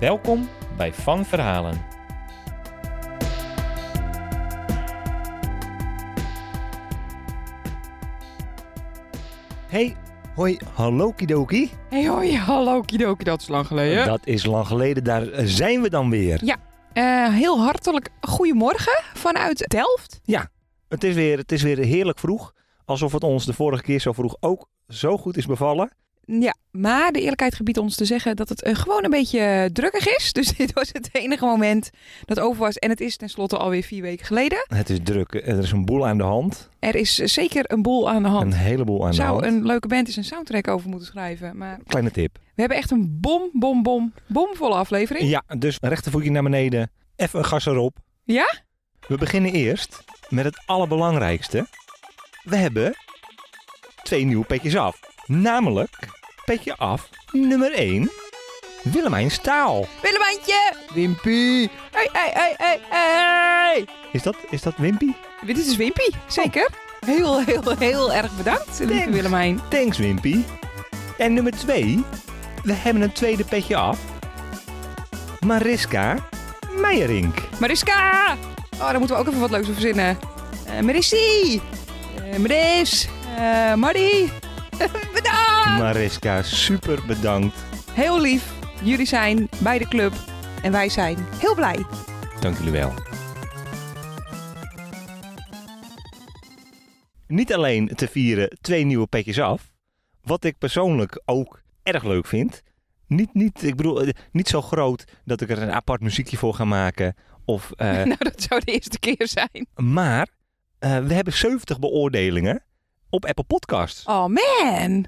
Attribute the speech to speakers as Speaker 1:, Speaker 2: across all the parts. Speaker 1: Welkom bij Van Verhalen.
Speaker 2: Hey, hoi, hallo Kidoki.
Speaker 3: Hey hoi, hallo Kidoki, dat is lang geleden.
Speaker 2: Dat is lang geleden, daar eh, zijn we dan weer.
Speaker 3: Eh, heel hartelijk goedemorgen vanuit Delft.
Speaker 2: Het is weer, het is weer heerlijk vroeg. Alsof het ons de vorige keer zo vroeg ook zo goed is bevallen.
Speaker 3: Ja, maar de eerlijkheid gebiedt ons te zeggen dat het eh, gewoon een beetje eh, drukkig is. Dus dit was het enige moment dat over was. En het is tenslotte alweer vier weken geleden.
Speaker 2: Het is druk, eh, er is een boel aan de hand.
Speaker 3: Er is eh, zeker een boel aan de hand.
Speaker 2: Een heleboel aan de hand.
Speaker 3: Zou een leuke band eens een soundtrack over moeten schrijven. Maar
Speaker 2: Kleine tip.
Speaker 3: We hebben echt een bom, bom, bom, bomvolle aflevering.
Speaker 2: Ja, dus rechtervoetje naar beneden, even een gas erop.
Speaker 3: Ja?
Speaker 2: We beginnen eerst met het allerbelangrijkste. We hebben twee nieuwe petjes af. Namelijk petje af nummer 1, Willemijn Staal.
Speaker 3: Willemijntje! Wimpy! Hey, hey, hey, hey, hey!
Speaker 2: Is dat, is dat Wimpy?
Speaker 3: Dit is dus Wimpy, zeker. Oh. Heel, heel, heel erg bedankt, lieve
Speaker 2: Thanks.
Speaker 3: Willemijn.
Speaker 2: Thanks Wimpy. En nummer 2, we hebben een tweede petje af. Mariska Meijerink.
Speaker 3: Mariska! Oh, daar moeten we ook even wat leuks voor verzinnen. Eh Marissie! Eh Maris! Eh Marie! bedankt!
Speaker 2: Mariska, super bedankt.
Speaker 3: Heel lief. Jullie zijn bij de club. En wij zijn heel blij.
Speaker 2: Dank jullie wel. Niet alleen te vieren twee nieuwe petjes af, wat ik persoonlijk ook erg leuk vind. Niet, niet, ik bedoel, eh, niet zo groot dat ik er een apart muziekje voor ga maken. Of, eh,
Speaker 3: nou, dat zou de eerste keer zijn.
Speaker 2: maar eh, we hebben 70 beoordelingen op Apple Podcasts.
Speaker 3: Oh, man!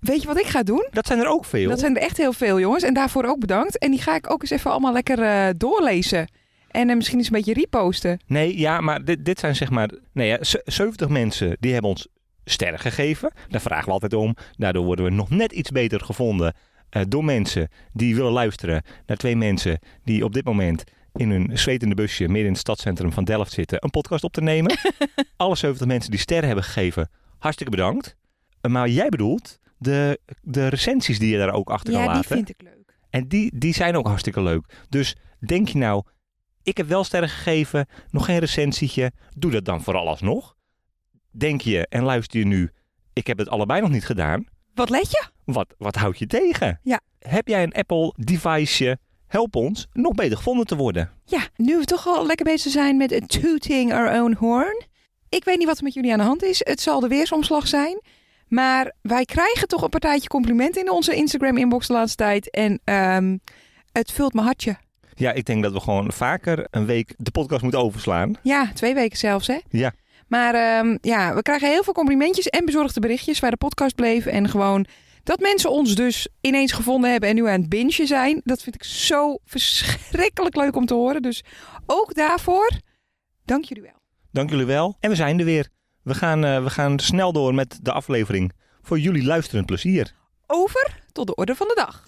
Speaker 3: Weet je wat ik ga doen?
Speaker 2: Dat zijn er ook veel.
Speaker 3: Dat zijn er echt heel veel, jongens. En daarvoor ook bedankt. En die ga ik ook eens even allemaal lekker eh, doorlezen. En eh, misschien eens een beetje reposten.
Speaker 2: Nee, ja, maar dit, dit zijn zeg maar... Nee, ja, ze- 70 mensen die hebben ons sterren gegeven. Daar vragen we altijd om. Daardoor worden we nog net iets beter gevonden eh, door mensen die willen luisteren naar twee mensen die op dit moment in hun zwetende busje midden in het stadscentrum van Delft zitten een podcast op te nemen. Alle 70 mensen die sterren hebben gegeven, hartstikke bedankt. Eh, Maar jij bedoelt de, de recensies die je daar ook achter kan
Speaker 3: Ja,
Speaker 2: laten.
Speaker 3: die vind ik leuk.
Speaker 2: En die, die zijn ook hartstikke leuk. Dus denk je nou, ik heb wel sterren gegeven, nog geen recensietje. Doe dat dan vooral alsnog. Denk je en luister je nu, ik heb het allebei nog niet gedaan.
Speaker 3: Wat let je?
Speaker 2: Wat, wat houd je tegen?
Speaker 3: Ja.
Speaker 2: Heb jij een Apple deviceje? Help ons nog beter gevonden te worden.
Speaker 3: Ja, nu we toch al lekker bezig zijn met het tooting our own horn. Ik weet niet wat er met jullie aan de hand is. Het zal de weersomslag zijn. Maar wij krijgen toch een partijtje complimenten in onze Instagram-inbox de laatste tijd. En ehm, het vult mijn hartje.
Speaker 2: Ja, ik denk dat we gewoon vaker een week de podcast moeten overslaan.
Speaker 3: Ja, twee weken zelfs, hè?
Speaker 2: Ja.
Speaker 3: Maar ehm, ja, we krijgen heel veel complimentjes en bezorgde berichtjes waar de podcast bleef. En gewoon dat mensen ons dus ineens gevonden hebben en nu aan het bingen zijn. Dat vind ik zo verschrikkelijk leuk om te horen. Dus ook daarvoor, dank jullie wel.
Speaker 2: Dank jullie wel. En we zijn er weer. We gaan, eh, we gaan snel door met de aflevering. Voor jullie luisterend plezier.
Speaker 3: Over tot de orde van de dag.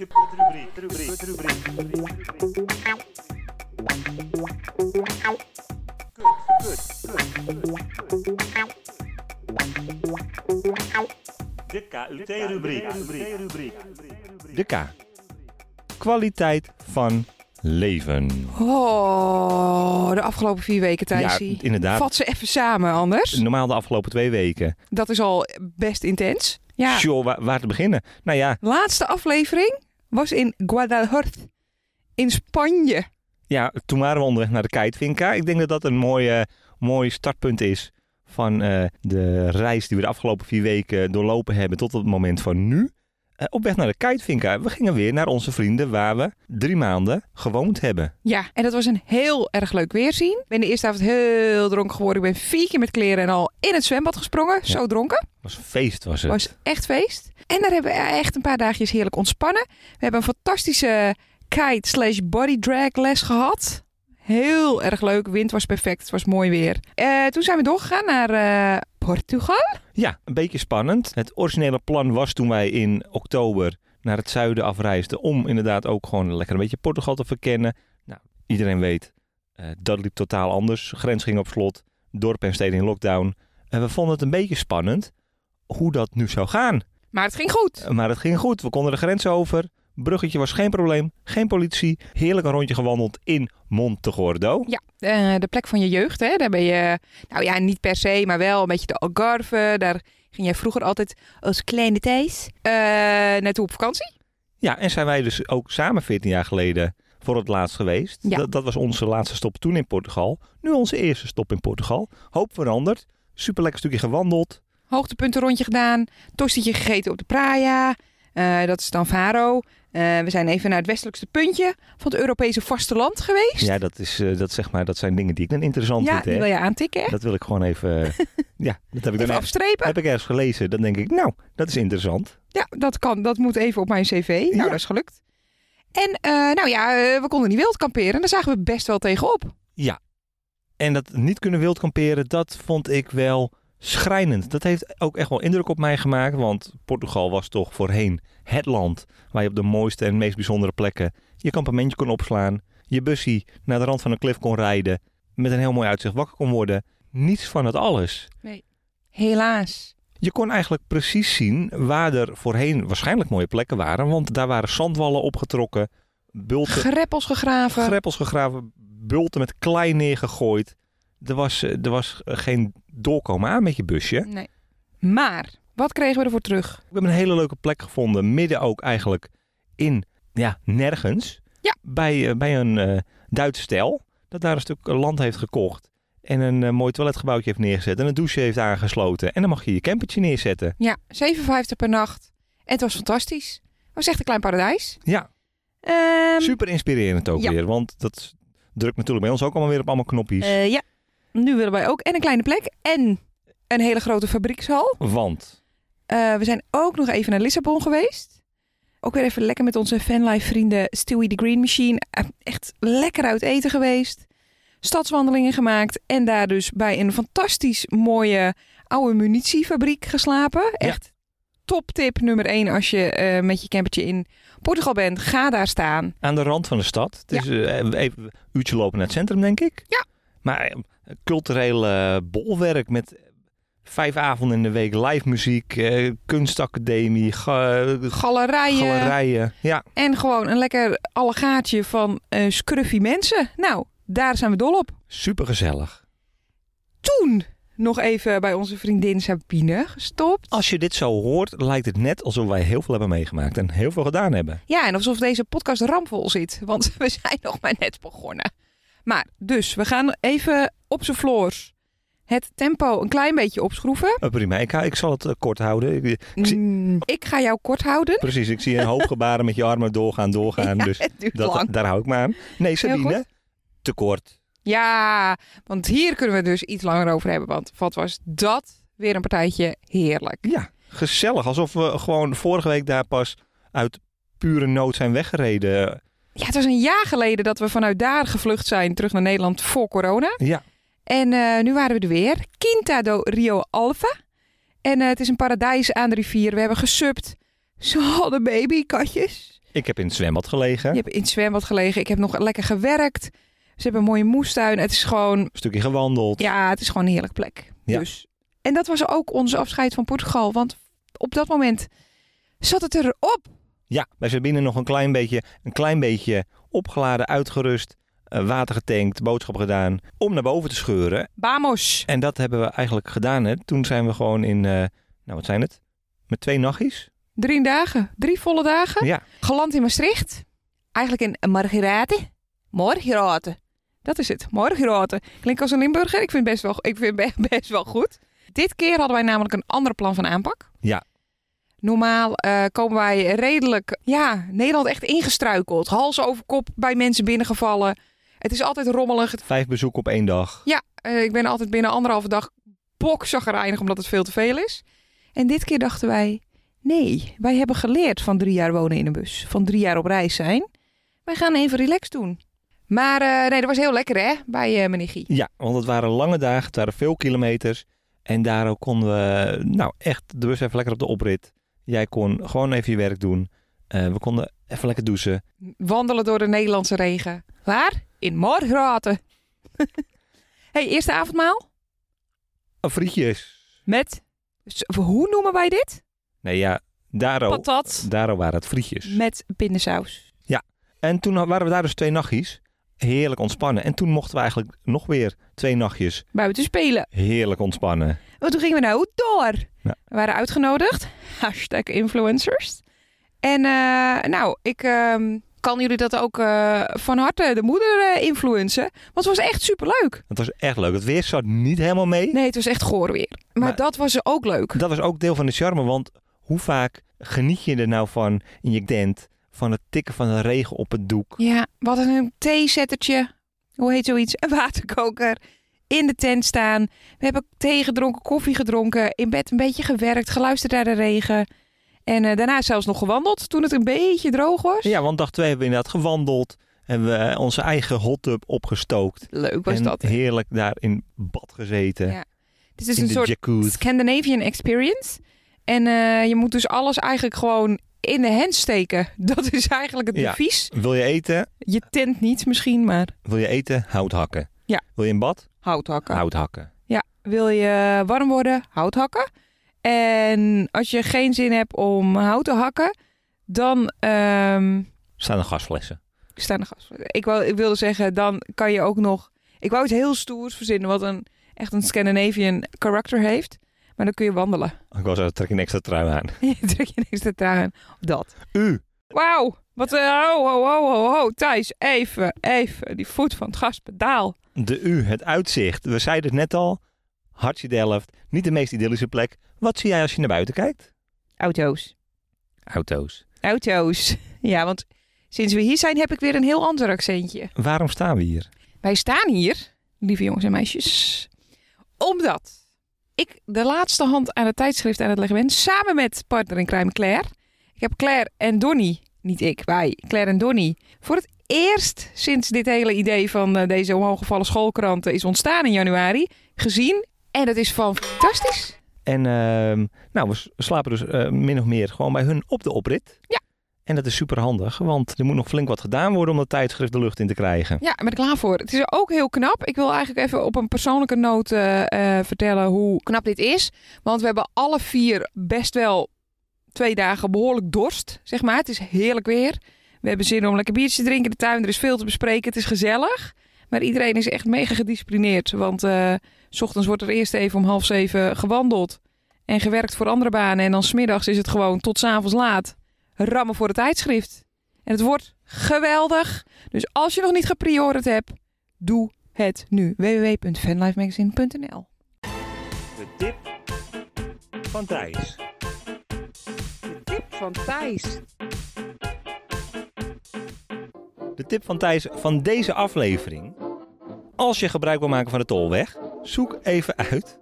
Speaker 1: De KUT-rubriek.
Speaker 2: De K. Kwaliteit van leven.
Speaker 3: Oh, de afgelopen vier weken, Thijsie.
Speaker 2: Ja, inderdaad.
Speaker 3: Vat ze even samen anders.
Speaker 2: Normaal de afgelopen twee weken.
Speaker 3: Dat is al best intens. Ja.
Speaker 2: Sjoe, waar, waar te beginnen? Nou ja,
Speaker 3: Laatste aflevering was in Guadalajara in Spanje.
Speaker 2: ja, toen waren we onderweg naar de Keitvinka. Ik denk dat dat een mooi, eh, mooi startpunt is van eh, de reis die we de afgelopen vier weken doorlopen hebben tot het moment van nu. Eh, op weg naar de Keitvinka. We gingen weer naar onze vrienden waar we drie maanden gewoond hebben.
Speaker 3: Ja, en dat was een heel erg leuk weerzien. Ik ben de eerste avond heel dronken geworden. Ik ben vier keer met kleren en al in het zwembad gesprongen. Zo dronken.
Speaker 2: was een feest, was het.
Speaker 3: was echt feest. En daar hebben we echt een paar dagjes heerlijk ontspannen. We hebben een fantastische kite slash body drag les gehad. Heel erg leuk. Wind was perfect. Het was mooi weer. Eh, toen zijn we doorgegaan naar eh, Portugal.
Speaker 2: Ja, een beetje spannend. Het originele plan was toen wij in oktober naar het zuiden afreisden... om inderdaad ook gewoon lekker een beetje Portugal te verkennen. Nou, iedereen weet, eh, dat liep totaal anders. Grens ging op slot, dorpen en steden in lockdown. En we vonden het een beetje spannend hoe dat nu zou gaan.
Speaker 3: Maar het ging goed.
Speaker 2: Maar het ging goed, we konden de grens over. Bruggetje was geen probleem, geen politie. Heerlijk een rondje gewandeld in Montegordo.
Speaker 3: Eh, de plek van je jeugd. Hè? Daar ben je, nou ja, niet per se, maar wel een beetje de Algarve. Daar ging jij vroeger altijd als kleine Thijs eh, naartoe op vakantie.
Speaker 2: Ja, en zijn wij dus ook samen 14 jaar geleden voor het laatst geweest.
Speaker 3: Ja.
Speaker 2: Dat, dat was onze laatste stop toen in Portugal. Nu onze eerste stop in Portugal. Hoop veranderd. Super lekker stukje gewandeld.
Speaker 3: Hoogtepunten rondje gedaan. Tostietje gegeten op de Praia. Eh, dat is dan Faro. Eh, we zijn even naar het westelijkste puntje van het Europese vasteland geweest.
Speaker 2: Ja, dat, is, eh, dat, zeg maar, dat zijn dingen die ik dan interessant
Speaker 3: Ja,
Speaker 2: vind.
Speaker 3: die
Speaker 2: Hè?
Speaker 3: wil je aantikken. Hè?
Speaker 2: Dat wil ik gewoon even... eh, ja, dat heb ik, dan
Speaker 3: Even
Speaker 2: ergens,
Speaker 3: afstrepen.
Speaker 2: heb ik ergens gelezen. Dan denk ik, nou, dat is interessant.
Speaker 3: Ja, dat kan. Dat moet even op mijn cv. Nou,
Speaker 2: Ja.
Speaker 3: dat is gelukt. En eh, nou ja, eh, we konden niet wild kamperen. Daar zagen we best wel tegenop.
Speaker 2: En dat niet kunnen wild kamperen, dat vond ik wel schrijnend. Dat heeft ook echt wel indruk op mij gemaakt. Want Portugal was toch voorheen het land waar je op de mooiste en meest bijzondere plekken je kampementje kon opslaan. Je bussie naar de rand van een klif kon rijden. Met een heel mooi uitzicht wakker kon worden. Niets van het alles.
Speaker 3: Helaas.
Speaker 2: Je kon eigenlijk precies zien waar er voorheen waarschijnlijk mooie plekken waren. Want daar waren zandwallen opgetrokken, bulten
Speaker 3: Greppels gegraven.
Speaker 2: greppels gegraven, bulten met klei neergegooid. Er was, eh, er was eh, geen doorkomen aan met je busje.
Speaker 3: Nee. Maar, wat kregen we ervoor terug?
Speaker 2: We hebben een hele leuke plek gevonden, midden ook eigenlijk in, ja, nergens.
Speaker 3: Ja.
Speaker 2: Bij, eh, bij een eh Duits stel dat daar een stuk eh, land heeft gekocht. En een eh, mooi toiletgebouwtje heeft neergezet en een douche heeft aangesloten. En dan mag je je campertje neerzetten.
Speaker 3: Ja, 7,50 per nacht. En het was fantastisch. Het was echt een klein paradijs.
Speaker 2: Ja,
Speaker 3: Ehm,
Speaker 2: super inspirerend ook
Speaker 3: ja.
Speaker 2: weer. Want dat drukt natuurlijk bij ons ook allemaal weer op allemaal knopjes.
Speaker 3: eh, ja, nu willen wij ook en een kleine plek en een hele grote fabriekshal.
Speaker 2: Want,
Speaker 3: Eh, we zijn ook nog even naar Lissabon geweest. Ook weer even lekker met onze fanlife vrienden Stewie the Green Machine. Eh, Echt lekker uit eten geweest. Stadswandelingen gemaakt. En daar dus bij een fantastisch mooie oude munitiefabriek geslapen. Echt top tip nummer één als je eh, met je campertje in Portugal bent. Ga daar staan.
Speaker 2: aan de rand van de stad. Het
Speaker 3: Ja.
Speaker 2: is eh, even een uurtje lopen naar het centrum, denk ik.
Speaker 3: Ja.
Speaker 2: Maar eh, cultureel eh, bolwerk met vijf avonden in de week live muziek, eh, kunstacademie, ga-
Speaker 3: Galerijen.
Speaker 2: galerijen. Ja,
Speaker 3: En gewoon een lekker allegaatje van eh scruffy mensen. Nou, daar zijn we dol op.
Speaker 2: supergezellig.
Speaker 3: Toen nog even bij onze vriendin Sabine gestopt.
Speaker 2: Als je dit zo hoort, lijkt het net alsof wij heel veel hebben meegemaakt en heel veel gedaan hebben.
Speaker 3: Ja, en alsof deze podcast rampvol zit, want we zijn nog maar net begonnen. Maar dus, we gaan even op z'n floors het tempo een klein beetje opschroeven.
Speaker 2: Eh, prima, ik, ga- ik zal het eh, kort houden. Ik-
Speaker 3: Ik,
Speaker 2: zie-
Speaker 3: ik ga jou kort houden.
Speaker 2: precies, ik zie een hoop gebaren met je armen doorgaan, doorgaan.
Speaker 3: Ja,
Speaker 2: dus
Speaker 3: het duurt
Speaker 2: dat,
Speaker 3: lang.
Speaker 2: daar hou ik me aan. Nee, Sabine,
Speaker 3: goed.
Speaker 2: tekort.
Speaker 3: Ja, want hier kunnen we dus iets langer over hebben, want wat was dat weer een partijtje heerlijk.
Speaker 2: Ja, gezellig. Alsof we gewoon vorige week daar pas uit pure nood zijn weggereden.
Speaker 3: Ja, het was een jaar geleden dat we vanuit daar gevlucht zijn terug naar Nederland voor corona.
Speaker 2: Ja,
Speaker 3: En eh, nu waren we er weer. Quinta do Rio Alfa. En eh, het is een paradijs aan de rivier. We hebben gesupt. Ze hadden babykatjes.
Speaker 2: ik heb in het zwembad gelegen.
Speaker 3: Je hebt in het zwembad gelegen. Ik heb nog lekker gewerkt. Ze hebben een mooie moestuin. Het is gewoon,
Speaker 2: Een stukje gewandeld.
Speaker 3: ja, het is gewoon een heerlijk plek.
Speaker 2: Ja.
Speaker 3: Dus. En dat was ook ons afscheid van Portugal. Want op dat moment zat het erop.
Speaker 2: Ja, wij zijn binnen nog een klein beetje, een klein beetje opgeladen, uitgerust. eh, Water getankt, boodschap gedaan. Om naar boven te scheuren.
Speaker 3: Vamos.
Speaker 2: En dat hebben we eigenlijk gedaan. Hè. Toen zijn we gewoon in, eh, nou wat zijn het? Met twee nachtjes?
Speaker 3: Drie dagen. Drie volle dagen.
Speaker 2: Ja.
Speaker 3: Geland in Maastricht. Eigenlijk in Margirate. Margirate. Dat is het. Margirate. Klinkt als een Limburger. Ik vind het best wel, ik vind het be- best wel goed. Dit keer hadden wij namelijk een ander plan van aanpak.
Speaker 2: Ja.
Speaker 3: Normaal eh, komen wij redelijk, ja, Nederland echt ingestruikeld. Hals over kop bij mensen binnengevallen. Het is altijd rommelig. Het-
Speaker 2: Vijf bezoeken op één dag.
Speaker 3: eh, ik ben altijd binnen anderhalve dag bokzaggerijnig omdat het veel te veel is. En dit keer dachten wij, nee, wij hebben geleerd van drie jaar wonen in een bus. Van drie jaar op reis zijn. Wij gaan even relax doen. Maar eh, nee, dat was heel lekker hè, bij eh, meneer Guy.
Speaker 2: Ja, want het waren lange dagen, het waren veel kilometers. En daardoor konden we, nou echt, de bus even lekker op de oprit. Jij kon gewoon even je werk doen. Eh, we konden even lekker douchen.
Speaker 3: Wandelen door de Nederlandse regen. Waar? In Margraten. hey, eerste avondmaal?
Speaker 2: Oh, frietjes.
Speaker 3: Met, s- hoe noemen wij dit?
Speaker 2: Nee ja, daarom,
Speaker 3: Patat
Speaker 2: daarom waren het frietjes.
Speaker 3: met pindasaus.
Speaker 2: En toen waren we daar dus twee nachtjes. Heerlijk ontspannen. En toen mochten we eigenlijk nog weer twee nachtjes
Speaker 3: Buiten spelen.
Speaker 2: heerlijk ontspannen.
Speaker 3: Want toen gingen we nou door.
Speaker 2: Ja.
Speaker 3: We waren uitgenodigd. Hashtag influencers. En eh, nou, ik ehm, kan jullie dat ook eh, van harte de moeder eh influencen. Want het was echt superleuk.
Speaker 2: Het was echt leuk. Het weer zat niet helemaal mee.
Speaker 3: Nee, het was echt goor weer. Maar,
Speaker 2: Maar-
Speaker 3: dat was ook leuk.
Speaker 2: Dat was ook deel van de charme, want hoe vaak geniet je er nou van in je tent? Van het tikken van de regen op het doek.
Speaker 3: Ja, wat een theezettertje. Hoe heet zoiets? Een waterkoker. In de tent staan. We hebben thee gedronken, koffie gedronken. In bed een beetje gewerkt, geluisterd naar de regen. En eh, daarna zelfs nog gewandeld toen het een beetje droog was.
Speaker 2: Ja, want dag twee hebben we inderdaad gewandeld. Hebben we eh, onze eigen hot tub opgestookt.
Speaker 3: Leuk was
Speaker 2: en
Speaker 3: dat.
Speaker 2: heerlijk daar in bad gezeten.
Speaker 3: Ja, Het is dus
Speaker 2: in
Speaker 3: een
Speaker 2: de
Speaker 3: soort
Speaker 2: jacuzzi.
Speaker 3: Scandinavian experience. En eh, je moet dus alles eigenlijk gewoon in de hand steken. Dat is eigenlijk het
Speaker 2: Ja.
Speaker 3: devies.
Speaker 2: Wil je eten?
Speaker 3: Je tent niet misschien, maar
Speaker 2: Wil je eten? Hout hakken.
Speaker 3: Ja.
Speaker 2: Wil je in bad?
Speaker 3: hout hakken.
Speaker 2: Hout hakken.
Speaker 3: Wil je warm worden? Hout hakken. En als je geen zin hebt om hout te hakken, dan ehm,
Speaker 2: Staan er gasflessen.
Speaker 3: Ik sta nog af. Ik, wou, ik wilde zeggen, dan kan je ook nog... Ik wou iets heel stoers verzinnen, wat een, echt een Scandinavian karakter heeft. Maar dan kun je wandelen.
Speaker 2: Ik was er trek een extra trui aan.
Speaker 3: je trek je niks te traan. Dat.
Speaker 2: U.
Speaker 3: Wauw, wat een ho, ho, ho, ho, ho, Thijs, even, even, die voet van het gaspedaal.
Speaker 2: De U. Het uitzicht. We zeiden het net al. Hartje Delft. Niet de meest idyllische plek. Wat zie jij als je naar buiten kijkt?
Speaker 3: Auto's.
Speaker 2: Auto's.
Speaker 3: Auto's. Ja, want sinds we hier zijn heb ik weer een heel ander accentje.
Speaker 2: Waarom staan we hier?
Speaker 3: Wij staan hier, lieve jongens en meisjes, omdat ik de laatste hand aan het tijdschrift aan het leggen ben, samen met partner in crime Claire. Ik heb Claire en Donnie, niet ik, wij, Claire en Donnie, voor het eerst sinds dit hele idee van eh, deze omhooggevallen schoolkranten is ontstaan in januari, gezien. En dat is van fantastisch.
Speaker 2: En ehm, nou, we s- slapen dus eh, min of meer gewoon bij hun op de oprit.
Speaker 3: Ja.
Speaker 2: En dat is super handig, want er moet nog flink wat gedaan worden om dat tijdschrift de lucht in te krijgen.
Speaker 3: Ja, ben ik klaar voor. Het is ook heel knap. Ik wil eigenlijk even op een persoonlijke noot eh, eh, vertellen hoe knap dit is. Want we hebben alle vier best wel twee dagen behoorlijk dorst, zeg maar. Het is heerlijk weer. We hebben zin om lekker biertje te drinken in de tuin. Er is veel te bespreken. Het is gezellig. Maar iedereen is echt mega gedisciplineerd. Want eh, s ochtends wordt er eerst even om half zeven gewandeld. En gewerkt voor andere banen. En dan smiddags is het gewoon tot 's avonds laat. Rammen voor het tijdschrift. En het wordt geweldig. Dus als je nog niet gepriorit hebt, doe het nu. www.fanlifemagazine.nl
Speaker 2: De tip van Thijs.
Speaker 3: Tip van Thijs.
Speaker 2: De tip van Thijs van deze aflevering. Als je gebruik wil maken van de tolweg, zoek even uit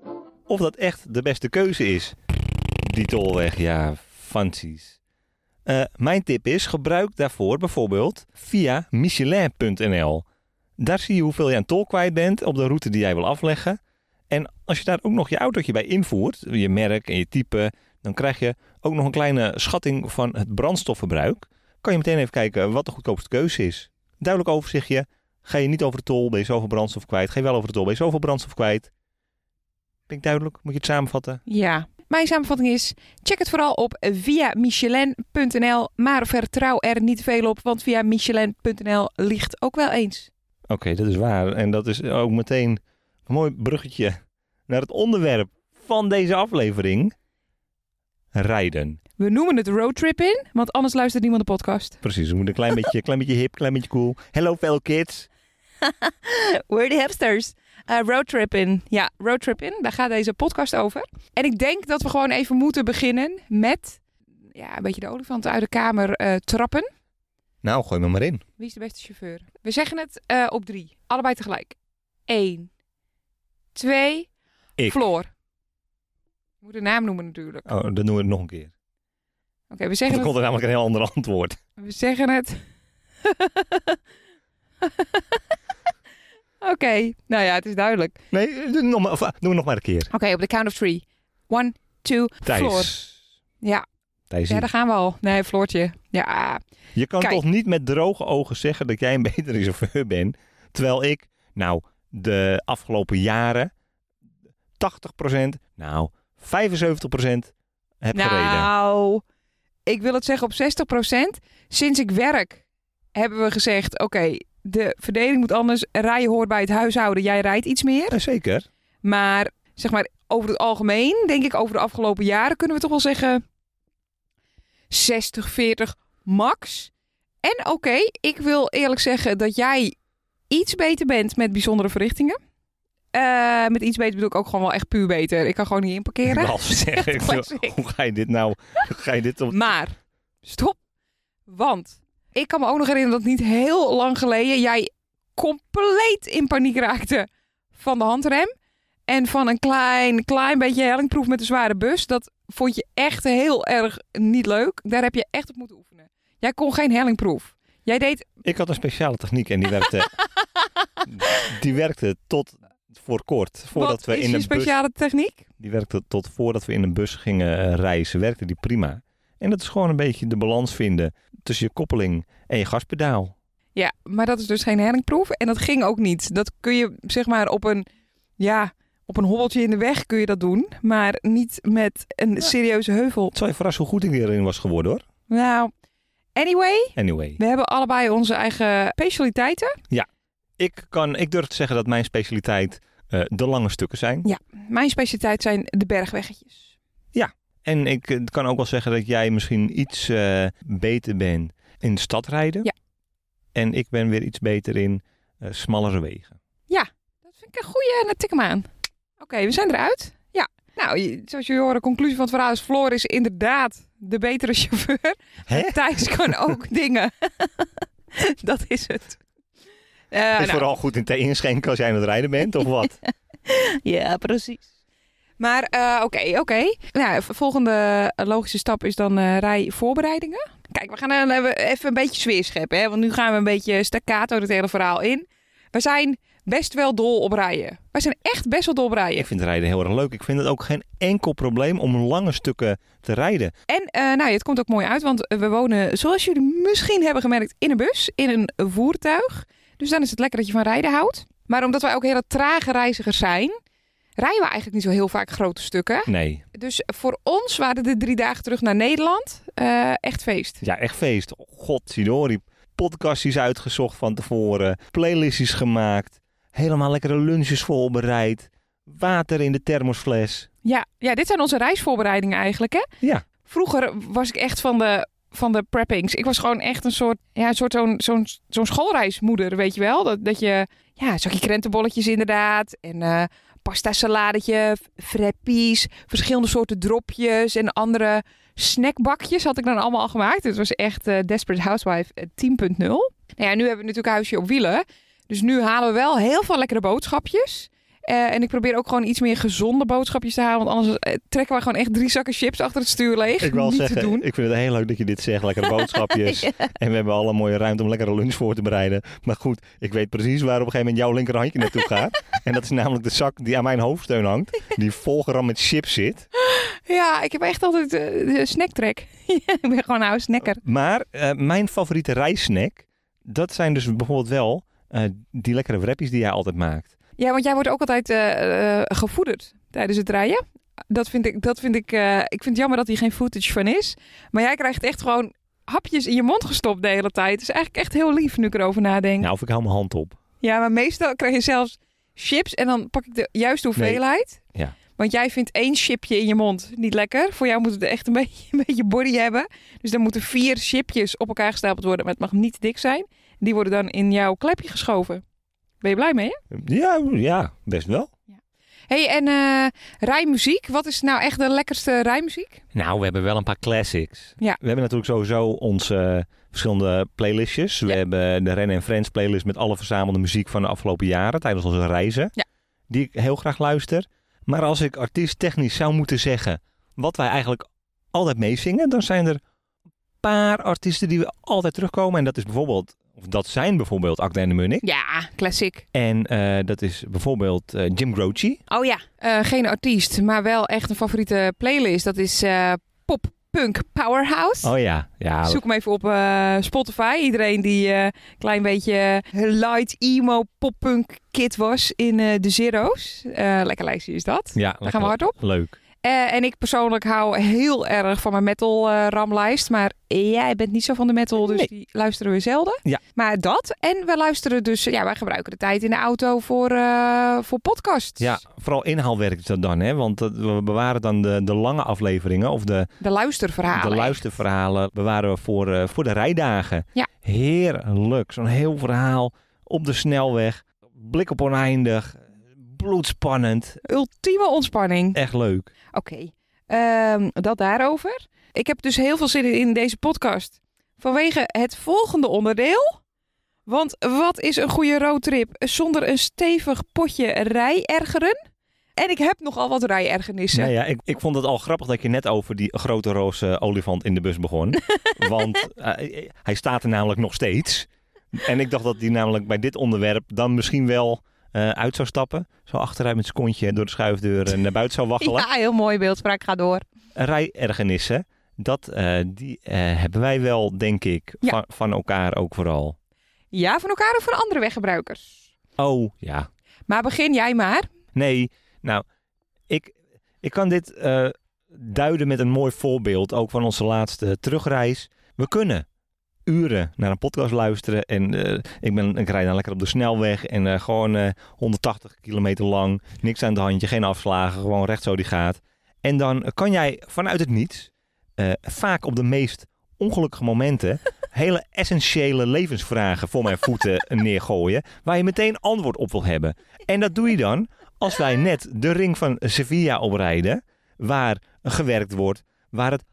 Speaker 2: of dat echt de beste keuze is. Die tolweg, ja, fancies. Eh, mijn tip is, gebruik daarvoor bijvoorbeeld via michelin.nl. Daar zie je hoeveel je aan tol kwijt bent op de route die jij wil afleggen. En als je daar ook nog je autootje bij invoert, je merk en je type, dan krijg je ook nog een kleine schatting van het brandstofverbruik kan je meteen even kijken wat de goedkoopste keuze is. Duidelijk overzichtje. Ga je niet over de tol, ben je zoveel brandstof kwijt. Ga je wel over de tol, ben je zoveel brandstof kwijt. Ben ik duidelijk? Moet je het samenvatten?
Speaker 3: Ja. Mijn samenvatting is, check het vooral op via michelin.nl, maar vertrouw er niet veel op, want via michelin.nl ligt ook wel eens.
Speaker 2: Oké, dat is waar. En dat is ook meteen een mooi bruggetje naar het onderwerp van deze aflevering. Rijden.
Speaker 3: We noemen het roadtrip in, want anders luistert niemand de podcast.
Speaker 2: Precies, we moeten een klein beetje, klein beetje hip, klein beetje cool. Hello fellow kids.
Speaker 3: We're the hipsters. Eh, roadtrip in. Ja, roadtrip in. Daar gaat deze podcast over. En ik denk dat we gewoon even moeten beginnen met ja, een beetje de olifant uit de kamer eh, trappen.
Speaker 2: Nou, gooi me maar in.
Speaker 3: Wie is de beste chauffeur? We zeggen het eh, op drie. Allebei tegelijk. Eén. Twee.
Speaker 2: Ik.
Speaker 3: Floor. Ik moet de naam noemen natuurlijk. Oké,
Speaker 2: Oh, dan doen we het nog een keer.
Speaker 3: we
Speaker 2: Dan
Speaker 3: zeggen het.
Speaker 2: komt er namelijk een heel ander antwoord.
Speaker 3: We zeggen het. Oké, nou ja, het is duidelijk. Oké,
Speaker 2: Nee, doe nog maar, of, ah, doe nog maar een keer.
Speaker 3: op de count of three. One, two, floor.
Speaker 2: Thijs.
Speaker 3: Ja.
Speaker 2: Thijs,
Speaker 3: Ja, daar gaan we al. Nee, Floortje. Ja,
Speaker 2: je kan
Speaker 3: Kijk.
Speaker 2: toch niet met droge ogen zeggen dat jij een betere chauffeur bent. Terwijl ik, nou, de afgelopen jaren 80%, nou, 75% heb gereden.
Speaker 3: nou, ik wil het zeggen op 60%. Sinds ik werk hebben we gezegd, oké, de verdeling moet anders. Rijden hoort bij het huishouden, jij rijdt iets meer.
Speaker 2: Ja, zeker.
Speaker 3: Maar zeg maar, over het algemeen, denk ik over de afgelopen jaren, kunnen we toch wel zeggen 60, 40 max. En oké, ik wil eerlijk zeggen dat jij iets beter bent met bijzondere verrichtingen. Eh, met iets beter bedoel ik ook gewoon wel echt puur beter. Ik kan gewoon niet in parkeren.
Speaker 2: Ralf zegt,
Speaker 3: Echt classic.
Speaker 2: hoe ga je dit nou, hoe ga je dit op...
Speaker 3: Maar stop. Want ik kan me ook nog herinneren dat niet heel lang geleden jij compleet in paniek raakte van de handrem. En van een klein, klein beetje hellingproef met een zware bus. Dat vond je echt heel erg niet leuk. Daar heb je echt op moeten oefenen. Jij kon geen hellingproef. Jij deed
Speaker 2: Ik had een speciale techniek en die werkte, die werkte tot voor kort. Voordat
Speaker 3: wat
Speaker 2: we
Speaker 3: is
Speaker 2: in
Speaker 3: je
Speaker 2: een bus
Speaker 3: speciale techniek.
Speaker 2: Die werkte tot voordat we in een bus gingen eh, reizen, werkte die prima. En dat is gewoon een beetje de balans vinden tussen je koppeling en je gaspedaal.
Speaker 3: Ja, maar dat is dus geen hellingproef. En dat ging ook niet. Dat kun je zeg maar op een, ja, op een hobbeltje in de weg kun je dat doen. Maar niet met een serieuze heuvel.
Speaker 2: Het zal je verrassen hoe goed ik erin was geworden hoor.
Speaker 3: Nou, anyway.
Speaker 2: Anyway,
Speaker 3: We hebben allebei onze eigen specialiteiten.
Speaker 2: ik, kan, ik durf te zeggen dat mijn specialiteit eh, de lange stukken zijn.
Speaker 3: Mijn specialiteit zijn de bergweggetjes.
Speaker 2: En ik eh, kan ook wel zeggen dat jij misschien iets eh, beter bent in de stad rijden.
Speaker 3: Ja.
Speaker 2: En ik ben weer iets beter in eh, smallere wegen.
Speaker 3: Dat vind ik een goede. Nou, tik hem aan. Oké, we zijn eruit. Ja. Nou, je- zoals jullie horen, conclusie van het verhaal is... Floor is inderdaad de betere chauffeur.
Speaker 2: Hè?
Speaker 3: Thijs kan ook dingen. dat is het. Eh,
Speaker 2: is
Speaker 3: nou,
Speaker 2: vooral goed in thee inschenken als jij aan het rijden bent of wat?
Speaker 3: Ja, precies. Maar eh, oké, oké. Nou, v- volgende logische stap is dan eh rijvoorbereidingen. Kijk, we gaan dan even- even een beetje sfeer scheppen. Hè? Want nu gaan we een beetje staccato het hele verhaal in. We zijn best wel dol op rijden. Wij zijn echt best wel dol op rijden.
Speaker 2: Ik vind rijden heel erg leuk. Ik vind het ook geen enkel probleem om lange stukken te rijden.
Speaker 3: En eh, nou, ja, het komt ook mooi uit, want we wonen, zoals jullie misschien hebben gemerkt, in een bus, in een voertuig. Dus dan is het lekker dat je van rijden houdt. Maar omdat wij ook hele trage reizigers zijn, rijden we eigenlijk niet zo heel vaak grote stukken.
Speaker 2: Nee.
Speaker 3: Dus voor ons waren de drie dagen terug naar Nederland eh, echt feest.
Speaker 2: Ja, echt feest. Oh, God, Sidori. Podcast is uitgezocht van tevoren. Playlist is gemaakt. Helemaal lekkere lunches voorbereid. Water in de thermosfles.
Speaker 3: Ja, ja, dit zijn onze reisvoorbereidingen eigenlijk, hè?
Speaker 2: Ja.
Speaker 3: Vroeger was ik echt van de, van de preppings. Ik was gewoon echt een soort, ja, een soort zo'n, zo'n, zo'n schoolreismoeder, weet je wel? Dat, dat je, ja, zakje krentenbolletjes inderdaad. En eh pasta saladetje, frappies, verschillende soorten dropjes en andere snackbakjes had ik dan allemaal al gemaakt. Het was echt eh, Desperate Housewife eh, 10.0. Nou ja, nu hebben we natuurlijk een huisje op wielen. Dus nu halen we wel heel veel lekkere boodschapjes. Eh, en ik probeer ook gewoon iets meer gezonde boodschapjes te halen. Want anders eh, trekken we gewoon echt drie zakken chips achter het stuur leeg.
Speaker 2: Ik wil
Speaker 3: Niet te
Speaker 2: zeggen,
Speaker 3: doen.
Speaker 2: ik vind het heel leuk dat je dit zegt. Lekkere boodschapjes. En we hebben alle mooie ruimte om lekkere lunch voor te bereiden. Maar goed, ik weet precies waar op een gegeven moment jouw linkerhandje naartoe gaat. en dat is namelijk de zak die aan mijn hoofdsteun hangt. Die volgeram met chips zit.
Speaker 3: Ja, ik heb echt altijd eh, de snacktrek. ik ben gewoon een oude snacker.
Speaker 2: Maar eh, mijn favoriete rijsnack, dat zijn dus bijvoorbeeld wel eh, die lekkere wrappies die jij altijd maakt.
Speaker 3: Ja, want jij wordt ook altijd eh, eh, gevoederd tijdens het rijden. Dat vind ik, dat vind ik, eh, ik vind het jammer dat hier geen footage van is. Maar jij krijgt echt gewoon hapjes in je mond gestopt de hele tijd. Het is eigenlijk echt heel lief nu ik erover nadenk.
Speaker 2: Nou, of ik hou mijn hand op.
Speaker 3: Ja, maar meestal krijg je zelfs chips en dan pak ik de juiste hoeveelheid.
Speaker 2: Ja.
Speaker 3: Want jij vindt één chipje in je mond niet lekker. Voor jou moet het echt een beetje, een beetje body hebben. Dus dan moeten vier chipjes op elkaar gestapeld worden, maar het mag niet dik zijn. Die worden dan in jouw klepje geschoven. Ben je blij mee? Hè?
Speaker 2: Ja, ja, best wel.
Speaker 3: hey, en eh rijmuziek. Wat is nou echt de lekkerste rijmuziek?
Speaker 2: Nou, we hebben wel een paar classics.
Speaker 3: Ja.
Speaker 2: We hebben natuurlijk sowieso onze eh, verschillende playlistjes. We
Speaker 3: Ja.
Speaker 2: hebben de Ren en Friends playlist met alle verzamelde muziek van de afgelopen jaren tijdens onze reizen.
Speaker 3: Ja.
Speaker 2: Die ik heel graag luister. Maar als ik artiest technisch zou moeten zeggen wat wij eigenlijk altijd meezingen, dan zijn er een paar artiesten die we altijd terugkomen. En dat is bijvoorbeeld Of dat zijn bijvoorbeeld Akda en de Munnik.
Speaker 3: Ja, classic.
Speaker 2: En eh, dat is bijvoorbeeld eh, Jim Croce.
Speaker 4: Oh ja.
Speaker 3: Eh, geen artiest, maar wel echt een favoriete playlist. Dat is eh, Pop Punk Powerhouse.
Speaker 2: Oh ja, ja.
Speaker 3: Zoek hem even op eh, Spotify. Iedereen die eh, een klein beetje eh, light emo poppunk kid was in eh, de Zero's. Eh, lekker lijstje is dat.
Speaker 2: ja
Speaker 3: Daar gaan we hard op.
Speaker 2: Leuk.
Speaker 3: Eh, en ik persoonlijk hou heel erg van mijn metal eh, ramlijst. Maar jij bent niet zo van de metal, dus
Speaker 2: Nee.
Speaker 3: die luisteren we zelden.
Speaker 2: Ja.
Speaker 3: Maar dat. En we luisteren dus, ja, wij gebruiken de tijd in de auto voor, eh, voor podcasts.
Speaker 2: Ja, vooral inhaalwerk is dat dan, hè? Want dat- we bewaren dan de, de lange afleveringen of de,
Speaker 3: De luisterverhalen.
Speaker 2: de luisterverhalen bewaren we voor, eh, voor de rijdagen.
Speaker 3: Ja.
Speaker 2: Heerlijk. Zo'n heel verhaal op de snelweg. Blik op oneindig. Bloedspannend.
Speaker 3: Ultieme ontspanning.
Speaker 2: Echt leuk.
Speaker 3: Oké, ehm, dat daarover. Ik heb dus heel veel zin in, in deze podcast. Vanwege het volgende onderdeel. Want wat is een goede roadtrip zonder een stevig potje rijergeren? En ik heb nogal wat rijergernissen.
Speaker 2: Nou ja, ik, ik vond het al grappig dat je net over die grote roze olifant in de bus begon. Want eh, hij staat er namelijk nog steeds. En ik dacht dat hij namelijk bij dit onderwerp dan misschien wel eh, uit zou stappen. Zo achteruit met zijn kontje door de schuifdeur eh, naar buiten zou waggelen.
Speaker 3: Ja, heel mooi beeldspraak. Ga door.
Speaker 2: Rijergenissen, dat, eh, die eh, hebben wij wel, denk ik,
Speaker 3: Ja.
Speaker 2: van, van elkaar ook vooral.
Speaker 3: Ja, van elkaar of van andere weggebruikers.
Speaker 2: Oh, ja.
Speaker 3: Maar begin jij maar.
Speaker 2: Nee, nou, ik, ik kan dit eh, duiden met een mooi voorbeeld, ook van onze laatste terugreis. We kunnen uren naar een podcast luisteren en eh, ik, ben, ik rijd dan lekker op de snelweg en eh, gewoon eh, 180 kilometer lang, niks aan de handje, geen afslagen, gewoon recht zo die gaat. En dan kan jij vanuit het niets, eh, vaak op de meest ongelukkige momenten, hele essentiële levensvragen voor mijn voeten neergooien, waar je meteen antwoord op wil hebben. En dat doe je dan als wij net de ring van Sevilla oprijden, waar gewerkt wordt, waar het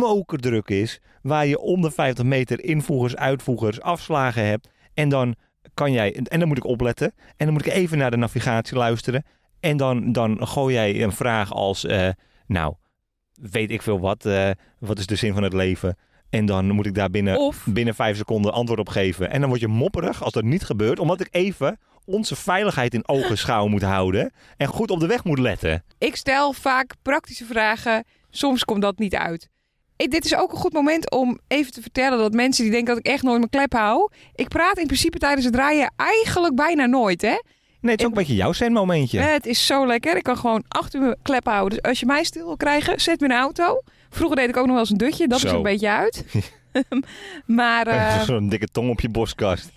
Speaker 2: mokerdruk is, waar je onder 50 meter invoegers, uitvoegers, afslagen hebt. En dan kan jij, en dan moet ik opletten, en dan moet ik even naar de navigatie luisteren. En dan, dan gooi jij een vraag als, eh, nou, weet ik veel wat, eh, wat is de zin van het leven? En dan moet ik daar binnen
Speaker 3: Of
Speaker 2: binnen vijf seconden antwoord op geven. En dan word je mopperig als dat niet gebeurt, omdat ik even onze veiligheid in ogenschouw moet houden en goed op de weg moet letten.
Speaker 3: Ik stel vaak praktische vragen. Soms komt dat niet uit. Ik- dit is ook een goed moment om even te vertellen dat mensen die denken dat ik echt nooit mijn klep hou. Ik praat in principe tijdens het draaien eigenlijk bijna nooit, hè?
Speaker 2: Nee, het is ook een beetje jouw zijn momentje.
Speaker 3: Eh, Het is zo lekker. Ik kan gewoon achter uur mijn klep houden. Dus als je mij stil wil krijgen, zet me in de auto. Vroeger deed ik ook nog wel eens een dutje. Dat is
Speaker 2: Zo.
Speaker 3: een beetje uit. maar eh,
Speaker 2: Zo'n dikke tong op je borstkast.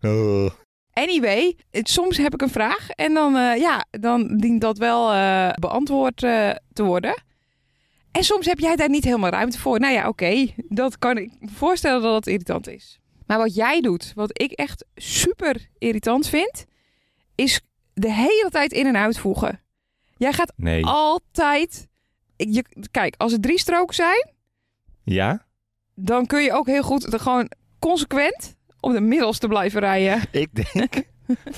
Speaker 2: Oh.
Speaker 3: anyway, het- soms heb ik een vraag. En dan, eh, ja, dan dient dat wel eh, beantwoord eh, te worden. En soms heb jij daar niet helemaal ruimte voor. Nou ja, oké, dat kan ik me voorstellen dat dat irritant is. Maar wat jij doet, wat ik echt super irritant vind, is de hele tijd in- en uitvoegen. Jij gaat
Speaker 2: Nee.
Speaker 3: altijd. Ik- Je, kijk, als het drie stroken zijn,
Speaker 2: Ja?
Speaker 3: dan kun je ook heel goed er gewoon consequent op de middels te blijven rijden.
Speaker 2: Ik denk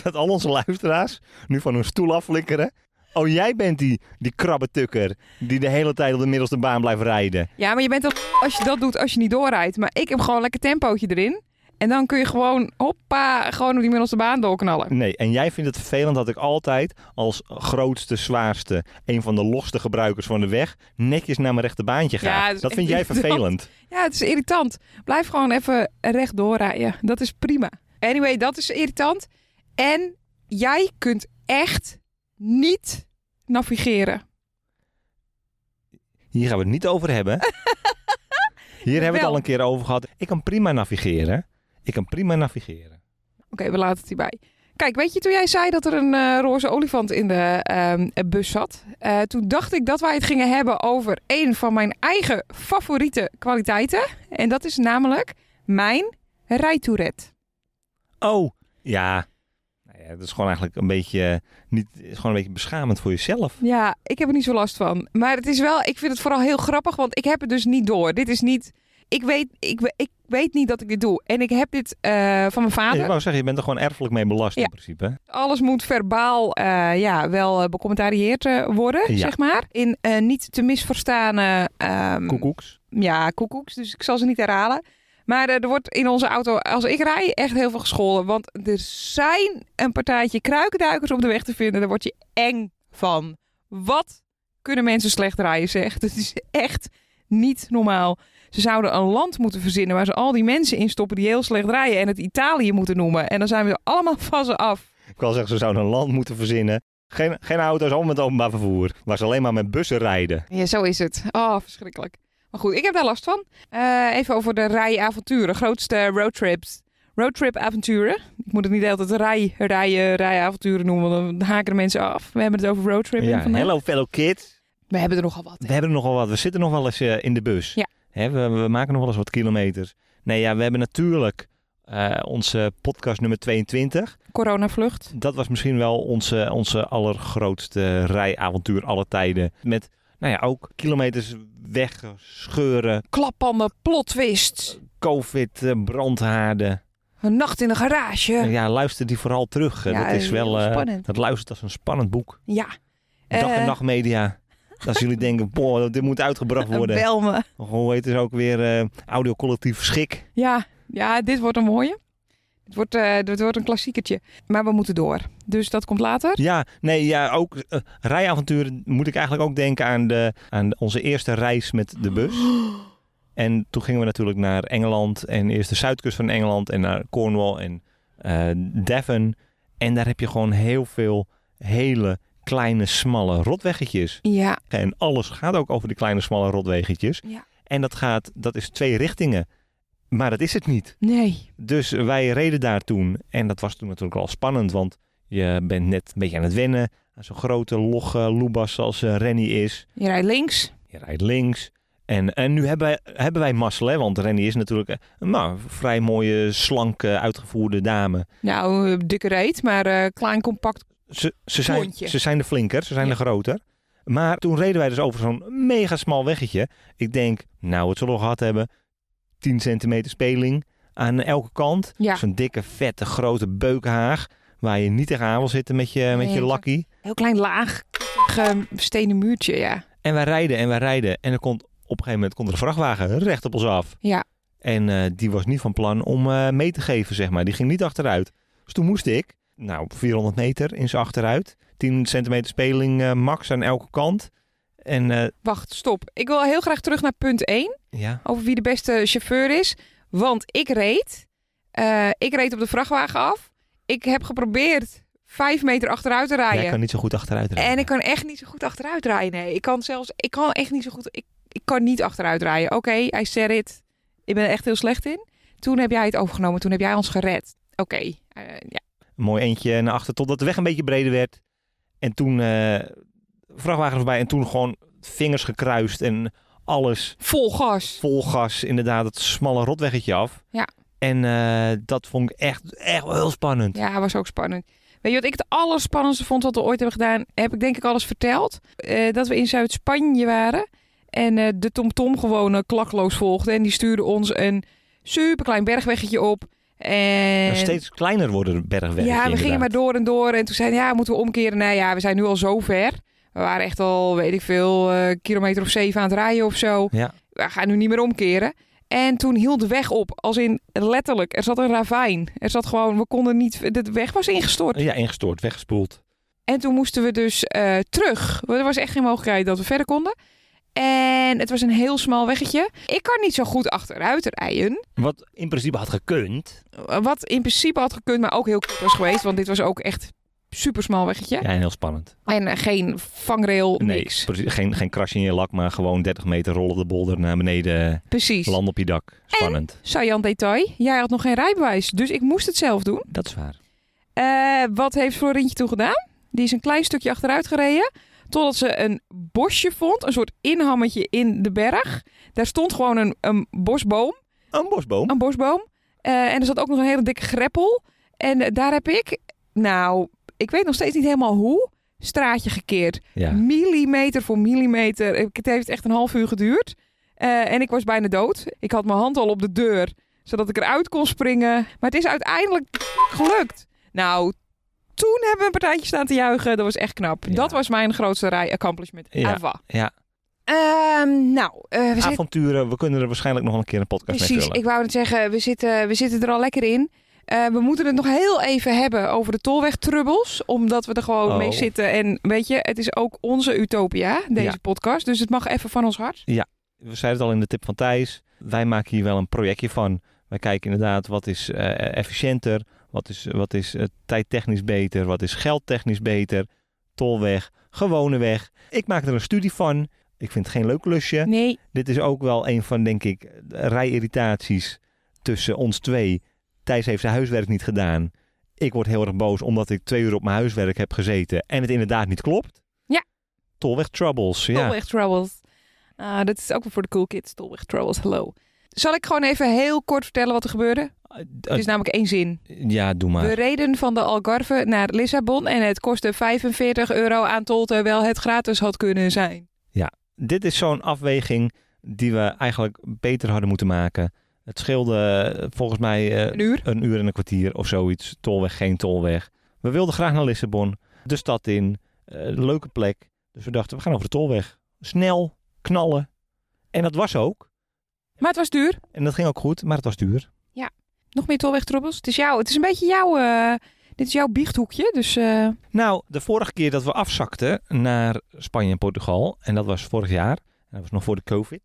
Speaker 2: dat al onze luisteraars nu van hun stoel afflikkeren. Oh, jij bent die, die krabbetukker die de hele tijd op de middelste baan blijft rijden.
Speaker 3: Ja, maar je bent dan als je dat doet als je niet doorrijdt. Maar ik heb gewoon lekker tempootje erin. En dan kun je gewoon, hoppa, gewoon op die middelste baan doorknallen.
Speaker 2: Nee, en jij vindt het vervelend dat ik altijd als grootste, zwaarste, een van de logste gebruikers van de weg, netjes naar mijn rechterbaantje
Speaker 3: Ja, dus
Speaker 2: ga.
Speaker 3: dat is
Speaker 2: dat
Speaker 3: echt
Speaker 2: vind jij
Speaker 3: irritant.
Speaker 2: vervelend.
Speaker 3: Ja, het is irritant. Blijf gewoon even recht doorrijden. Dat is prima. Anyway, dat is irritant. En jij kunt echt niet navigeren.
Speaker 2: Hier gaan we het niet over hebben. Hier hebben we het
Speaker 3: Wel.
Speaker 2: al een keer over gehad. Ik kan prima navigeren. Ik kan prima navigeren.
Speaker 3: Oké, we laten het hierbij. Kijk, weet je, toen jij zei dat er een eh, roze olifant in de ehm, bus zat, eh, toen dacht ik dat wij het gingen hebben over een van mijn eigen favoriete kwaliteiten. En dat is namelijk mijn rijtourette.
Speaker 2: Oh, ja. Nou ja dat is gewoon eigenlijk een beetje, eh, niet, is gewoon een beetje beschamend voor jezelf.
Speaker 3: Ja, ik heb er niet zo last van. Maar het is wel, ik vind het vooral heel grappig, want ik heb het dus niet door. Dit is niet, ik weet, ik, we- ik weet niet dat ik dit doe. En ik heb dit eh, van mijn
Speaker 2: Ik
Speaker 3: vader.
Speaker 2: wou zeggen, je bent er gewoon erfelijk mee belast
Speaker 3: Ja.
Speaker 2: in principe.
Speaker 3: Alles moet verbaal eh, ja, wel eh, becommentarieerd eh, worden,
Speaker 2: Ja.
Speaker 3: zeg maar. In eh, niet te misverstaane... ehm,
Speaker 2: Koekoeks.
Speaker 3: ja, koekoeks, dus ik zal ze niet herhalen. Maar eh, er wordt in onze auto, als ik rij, echt heel veel gescholden. Want er zijn een partijtje kruikenduikers op de weg te vinden. Daar word je eng van. Wat kunnen mensen slecht rijden, zeg. Het is echt niet normaal. Ze zouden een land moeten verzinnen waar ze al die mensen in stoppen die heel slecht rijden. En het Italië moeten noemen. En dan zijn we er allemaal van ze af.
Speaker 2: Ik wil zeggen, ze zouden een land moeten verzinnen. Geen, geen auto's, allemaal met openbaar vervoer. Waar ze alleen maar met bussen rijden.
Speaker 3: Ja, zo is het. Oh, verschrikkelijk. Maar goed, ik heb daar last van. Eh, even over de rijavonturen. Grootste roadtrips. Roadtrip-avonturen. Ik moet het niet altijd rij, rijen, rijavonturen noemen, want dan haken de mensen af. We hebben het over roadtripping
Speaker 2: Ja,
Speaker 3: vandaag.
Speaker 2: hello fellow kids.
Speaker 3: We hebben er nogal wat. hè.
Speaker 2: We hebben nogal wat. We zitten nog wel eens eh, in de bus.
Speaker 3: Ja.
Speaker 2: Hè, we, we maken nog wel eens wat kilometers. Nee, ja, we hebben natuurlijk eh, onze podcast nummer 22.
Speaker 3: Coronavlucht.
Speaker 2: Dat was misschien wel onze, onze allergrootste rijavontuur alle tijden. Met, nou ja, ook kilometers wegscheuren,
Speaker 3: Klappanden, plotwist.
Speaker 2: covid, eh, brandhaarden.
Speaker 3: Een nacht in de garage.
Speaker 2: Nou Ja, luister die vooral terug. Eh,
Speaker 3: Ja,
Speaker 2: dat is wel...
Speaker 3: heel
Speaker 2: eh,
Speaker 3: spannend.
Speaker 2: dat luistert als een spannend boek.
Speaker 3: Ja.
Speaker 2: Dag en
Speaker 3: Eh,
Speaker 2: nacht media. Als jullie denken, boah, dit moet uitgebracht worden.
Speaker 3: Bel me.
Speaker 2: Hoe heet het ook weer? eh audio collectief schik.
Speaker 3: Ja, ja, dit wordt een mooie. Het wordt, eh, dit wordt een klassiekertje. Maar we moeten door. Dus dat komt later.
Speaker 2: Ja, nee, ja, ook eh, rijavonturen moet ik eigenlijk ook denken aan, de, aan onze eerste reis met de bus. En toen gingen we natuurlijk naar Engeland en eerst de zuidkust van Engeland en naar Cornwall en eh, Devon. En daar heb je gewoon heel veel hele kleine, smalle rotweggetjes.
Speaker 3: Ja,
Speaker 2: En alles gaat ook over die kleine, smalle rotweggetjes.
Speaker 3: Ja.
Speaker 2: En dat, gaat, dat is twee richtingen. Maar dat is het niet.
Speaker 3: nee.
Speaker 2: Dus wij reden daar toen. En dat was toen natuurlijk al spannend. Want je bent net een beetje aan het wennen. Aan zo'n grote, logge loebas als eh, Rennie is.
Speaker 3: Je rijdt links.
Speaker 2: Je rijdt links. En, en nu hebben wij, hebben wij mazzel, hè? Want Rennie is natuurlijk eh, een nou, vrij mooie, slanke, uitgevoerde dame.
Speaker 3: Nou, eh, dikke reet, maar eh, klein, compact.
Speaker 2: Ze, ze, zijn,
Speaker 3: Klontje.
Speaker 2: ze zijn de flinker, ze zijn
Speaker 3: Ja.
Speaker 2: de groter. Maar toen reden wij dus over zo'n mega smal weggetje. Ik denk, nou, het zullen we gehad hebben. 10 centimeter speling aan elke kant.
Speaker 3: Ja,
Speaker 2: Zo'n dikke, vette, grote beukhaag. Waar je niet tegenaan wil zitten met je, met
Speaker 3: Nee,
Speaker 2: je
Speaker 3: exact.
Speaker 2: lakkie.
Speaker 3: heel klein, laag, ge- stenen muurtje, ja.
Speaker 2: En wij rijden en wij rijden. En er komt, op een gegeven moment komt er een vrachtwagen recht op ons af.
Speaker 3: Ja.
Speaker 2: En eh, die was niet van plan om eh, mee te geven, zeg maar. Die ging niet achteruit. Dus toen moest ik, nou, 400 meter in zijn achteruit. 10 centimeter speling eh, max aan elke kant. En eh,
Speaker 3: Wacht, stop. Ik wil heel graag terug naar punt 1,
Speaker 2: ja,
Speaker 3: over wie de beste chauffeur is. Want ik reed, eh, ik reed op de vrachtwagen af. Ik heb geprobeerd vijf meter achteruit te rijden.
Speaker 2: jij kan niet zo goed achteruit rijden.
Speaker 3: Ah, En ik kan echt niet zo goed achteruit rijden. Nee, ik kan zelfs, ik kan echt niet zo goed, ik, ik kan niet achteruit rijden. Oké, I said it. Ik ben er echt heel slecht in. Toen heb jij het overgenomen, toen heb jij ons gered. Oké, eh, ja.
Speaker 2: Een mooi eentje naar achter, totdat de weg een beetje breder werd. En toen eh vrachtwagen voorbij en toen gewoon vingers gekruist en alles
Speaker 3: Vol gas.
Speaker 2: vol gas inderdaad het smalle rotweggetje af.
Speaker 3: Ja.
Speaker 2: En eh, dat vond ik echt, echt wel heel spannend.
Speaker 3: Ja, was ook spannend. Weet je wat ik het allerspannendste vond wat we ooit hebben gedaan? Heb ik denk ik alles verteld. Eh, dat we in Zuid-Spanje waren. En eh, de TomTom gewoon eh, klakloos volgde. En die stuurde ons een superklein bergweggetje op. En
Speaker 2: En steeds kleiner worden de bergwegen
Speaker 3: ja, we gingen
Speaker 2: inderdaad.
Speaker 3: maar door en door. En toen zeiden ja, moeten we omkeren? Nou ja, we zijn nu al zo ver. We waren echt al, weet ik veel, eh, kilometer of zeven aan het rijden of zo.
Speaker 2: Ja.
Speaker 3: We gaan nu niet meer omkeren. En toen hield de weg op. Als in letterlijk, er zat een ravijn. Er zat gewoon, we konden niet, de weg was ingestort.
Speaker 2: Oh, Ja, ingestoord, weggespoeld.
Speaker 3: En toen moesten we dus eh, terug. Er was echt geen mogelijkheid dat we verder konden. En het was een heel smal weggetje. Ik kan niet zo goed achteruit rijden.
Speaker 2: Wat in principe had gekund.
Speaker 3: Wat in principe had gekund, maar ook heel kut was geweest. Want dit was ook echt super smal weggetje.
Speaker 2: Ja, en heel spannend.
Speaker 3: En eh, geen vangrail,
Speaker 2: Nee,
Speaker 3: niks.
Speaker 2: precies, geen, geen krasje in je lak, maar gewoon 30 meter rollen op de bolder naar beneden,
Speaker 3: Precies.
Speaker 2: land op je dak. Spannend.
Speaker 3: Saillant detail. Jij had nog geen rijbewijs, dus ik moest het zelf doen.
Speaker 2: Dat is waar.
Speaker 3: Eh, wat heeft Florentje toen gedaan? Die is een klein stukje achteruit gereden. Totdat ze een bosje vond. Een soort inhammetje in de berg. Daar stond gewoon een, een bosboom.
Speaker 2: Een bosboom.
Speaker 3: Een bosboom. Eh, en er zat ook nog een hele dikke greppel. En eh, daar heb ik, nou, ik weet nog steeds niet helemaal hoe, straatje gekeerd.
Speaker 2: Ja.
Speaker 3: Millimeter voor millimeter. Ik- Het heeft echt een half uur geduurd. Eh, en ik was bijna dood. Ik had mijn hand al op de deur, zodat ik eruit kon springen. Maar het is uiteindelijk gelukt. Nou, toen hebben we een partijtje staan te juichen. Dat was echt knap.
Speaker 2: Ja.
Speaker 3: Dat was mijn grootste rij-accomplishment
Speaker 2: Ja.
Speaker 3: ever.
Speaker 2: Ja.
Speaker 3: Ehm, nou, eh, we zitten
Speaker 2: Avonturen, we kunnen er waarschijnlijk nog wel een keer een podcast mee
Speaker 3: Precies,
Speaker 2: vullen.
Speaker 3: ik wou het zeggen, we zitten, we zitten er al lekker in. Eh, we moeten het nog heel even hebben over de tolwegtrubbels. Omdat we er gewoon
Speaker 2: Oh.
Speaker 3: mee zitten. En weet je, het is ook onze utopia, deze
Speaker 2: Ja.
Speaker 3: podcast. Dus het mag even van ons hart.
Speaker 2: We zeiden het al in de tip van Thijs. Wij maken hier wel een projectje van. Wij kijken inderdaad wat is eh, efficiënter, wat is, wat is eh, tijdtechnisch beter, wat is geldtechnisch beter. Tolweg, gewone weg. Ik maak er een studie van. Ik vind het geen leuk lusje.
Speaker 3: Nee,
Speaker 2: Dit is ook wel een van, denk ik, rijirritaties tussen ons twee. Thijs heeft zijn huiswerk niet gedaan. Ik word heel erg boos omdat ik twee uur op mijn huiswerk heb gezeten en het inderdaad niet klopt.
Speaker 3: Ja.
Speaker 2: Tolweg troubles, ja.
Speaker 3: tolwegtrubbels. Ah, dat is ook wel voor de cool kids, tolwegtrubbels, hallo. Zal ik gewoon even heel kort vertellen wat er gebeurde?
Speaker 2: Eh,
Speaker 3: Het is namelijk één zin.
Speaker 2: eh, ja, doe maar.
Speaker 3: We reden van de Algarve naar Lissabon en het kostte 45 euro aan tol, terwijl het gratis had kunnen zijn.
Speaker 2: Dit is zo'n afweging die we eigenlijk beter hadden moeten maken. Het scheelde eh, volgens mij eh,
Speaker 3: Een uur?
Speaker 2: een uur en een kwartier of zoiets. Tolweg, geen tolweg. We wilden graag naar Lissabon, de stad in, eh, een leuke plek. Dus we dachten, we gaan over de tolweg. Snel, knallen. En dat was ook.
Speaker 3: Maar het was duur.
Speaker 2: En dat ging ook goed, maar het was duur.
Speaker 3: Nog meer tolwegtroebels? Het is jouw, het is een beetje jouw, eh, dit is jouw biechthoekje, dus eh,
Speaker 2: Nou, de vorige keer dat we afzakten naar Spanje en Portugal, en dat was vorig jaar, en dat was nog voor de COVID,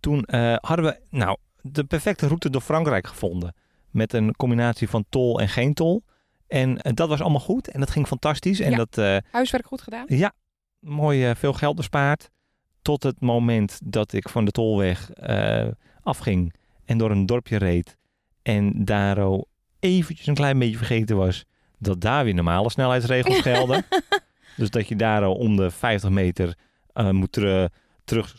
Speaker 2: toen eh, hadden we nou, de perfecte route door Frankrijk gevonden. Met een combinatie van tol en geen tol. En eh, dat was allemaal goed en dat ging fantastisch. En
Speaker 3: Ja.
Speaker 2: dat, eh,
Speaker 3: huiswerk goed gedaan.
Speaker 2: ja, mooi eh, veel geld bespaard. Tot het moment dat ik van de tolweg eh, afging en door een dorpje reed. En daar al eventjes een klein beetje vergeten was dat daar weer normale snelheidsregels gelden. dus dat je daar al om de 50 meter eh, moet ter-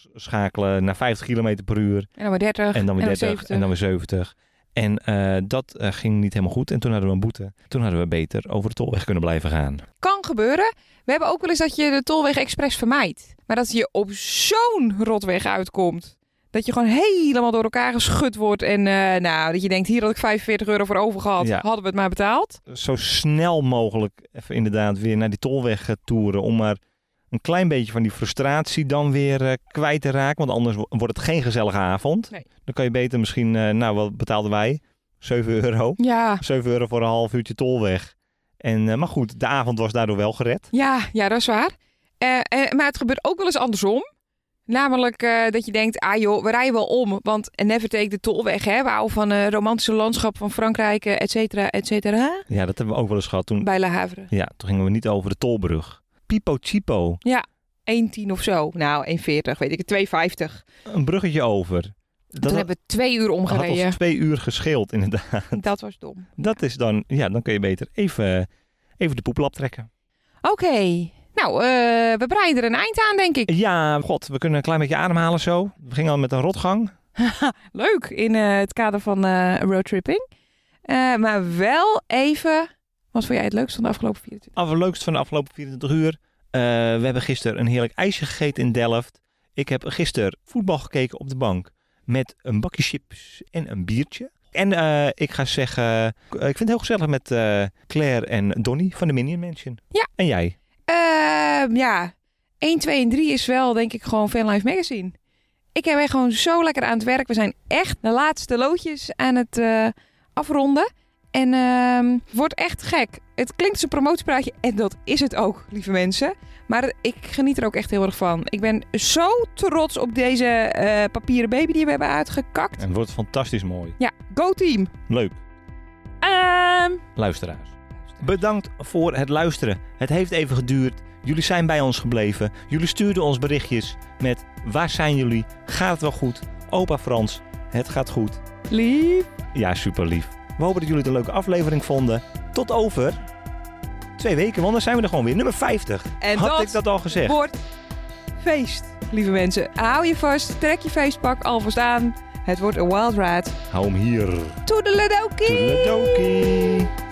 Speaker 2: terugschakelen naar 50 km per uur.
Speaker 3: En dan weer 30.
Speaker 2: En dan weer 30
Speaker 3: 70.
Speaker 2: en dan weer 70. En eh, dat eh, ging niet helemaal goed. En toen hadden we een boete. Toen hadden we beter over de tolweg kunnen blijven gaan.
Speaker 3: Kan gebeuren. We hebben ook wel eens dat je de tolweg expres vermijdt. Maar dat je op zo'n rotweg uitkomt. Dat je gewoon helemaal door elkaar geschud wordt. En eh, nou, dat je denkt, hier had ik 45 euro voor over gehad.
Speaker 2: Ja.
Speaker 3: Hadden we het maar betaald.
Speaker 2: zo snel mogelijk even inderdaad weer naar die tolweg eh, toeren. Om maar een klein beetje van die frustratie dan weer eh, kwijt te raken. Want anders wo- wordt het geen gezellige avond.
Speaker 3: Nee.
Speaker 2: Dan kan je beter misschien, eh, nou wat betaalden wij? 7 euro.
Speaker 3: Ja,
Speaker 2: 7 euro voor een half uurtje tolweg. En, eh, maar goed, de avond was daardoor wel gered.
Speaker 3: ja, ja dat is waar. Eh, eh, maar het gebeurt ook wel eens andersom. Namelijk eh, dat je denkt, ah joh, we rijden wel om. Want never take de tolweg, hè. We houden van eh romantische landschap van Frankrijk, eh, et cetera, et cetera.
Speaker 2: Ja, dat hebben we ook wel eens gehad. Toen,
Speaker 3: Bij La Havre.
Speaker 2: ja, toen gingen we niet over de tolbrug. Pipo Chipo,
Speaker 3: 1,10 of zo. Nou, 1,40, weet ik het, 2,50.
Speaker 2: een bruggetje over. Dat
Speaker 3: Toen hebben we twee uur
Speaker 2: had
Speaker 3: omgereden.
Speaker 2: ons twee uur gescheeld inderdaad.
Speaker 3: Dat was dom.
Speaker 2: Dat is dan, ja, dan kun je beter even, even de poeplap trekken.
Speaker 3: Oké. Nou, eh, we breiden er een eind aan, denk ik.
Speaker 2: Ja, god, we kunnen een klein beetje ademhalen zo. We gingen al met een rotgang.
Speaker 3: Leuk, in eh, het kader van eh, roadtripping. Eh, maar wel even... Wat vond jij het leukst van de afgelopen 24
Speaker 2: Af leukst van de afgelopen 24 uur. Eh, we hebben gisteren een heerlijk ijsje gegeten in Delft. Ik heb gisteren voetbal gekeken op de bank. Met een bakje chips en een biertje. En eh, ik ga zeggen, eh, ik vind het heel gezellig met eh, Claire en Donnie van de Minion Mansion.
Speaker 3: Ja.
Speaker 2: En jij?
Speaker 3: Ehm, ja, 1, 2 en 3 is wel denk ik gewoon Fanlife Magazine. Ik heb er gewoon zo lekker aan het werk. We zijn echt de laatste loodjes aan het eh, afronden. En ehm, het wordt echt gek. Het klinkt als een promotiepraatje en dat is het ook, lieve mensen. Maar ik geniet er ook echt heel erg van. Ik ben zo trots op deze eh, papieren baby die we hebben uitgekakt.
Speaker 2: En het wordt fantastisch mooi.
Speaker 3: Ja, go team!
Speaker 2: Leuk,
Speaker 3: Ehm,
Speaker 2: luisteraars. Bedankt voor het luisteren. Het heeft even geduurd. Jullie zijn bij ons gebleven. Jullie stuurden ons berichtjes met waar zijn jullie? Gaat het wel goed? Opa Frans, het gaat goed.
Speaker 3: lief.
Speaker 2: Ja, super lief. We hopen dat jullie het een leuke aflevering vonden. Tot over twee weken, want dan zijn we er gewoon weer. Nummer 50.
Speaker 3: En
Speaker 2: Had
Speaker 3: dat...
Speaker 2: ik dat al gezegd?
Speaker 3: wordt feest, lieve mensen. Hou je vast, trek je feestpak alvast aan. Het wordt een wild ride.
Speaker 2: Hou hem hier.
Speaker 3: Toedeledokie!
Speaker 2: Toedeledokie.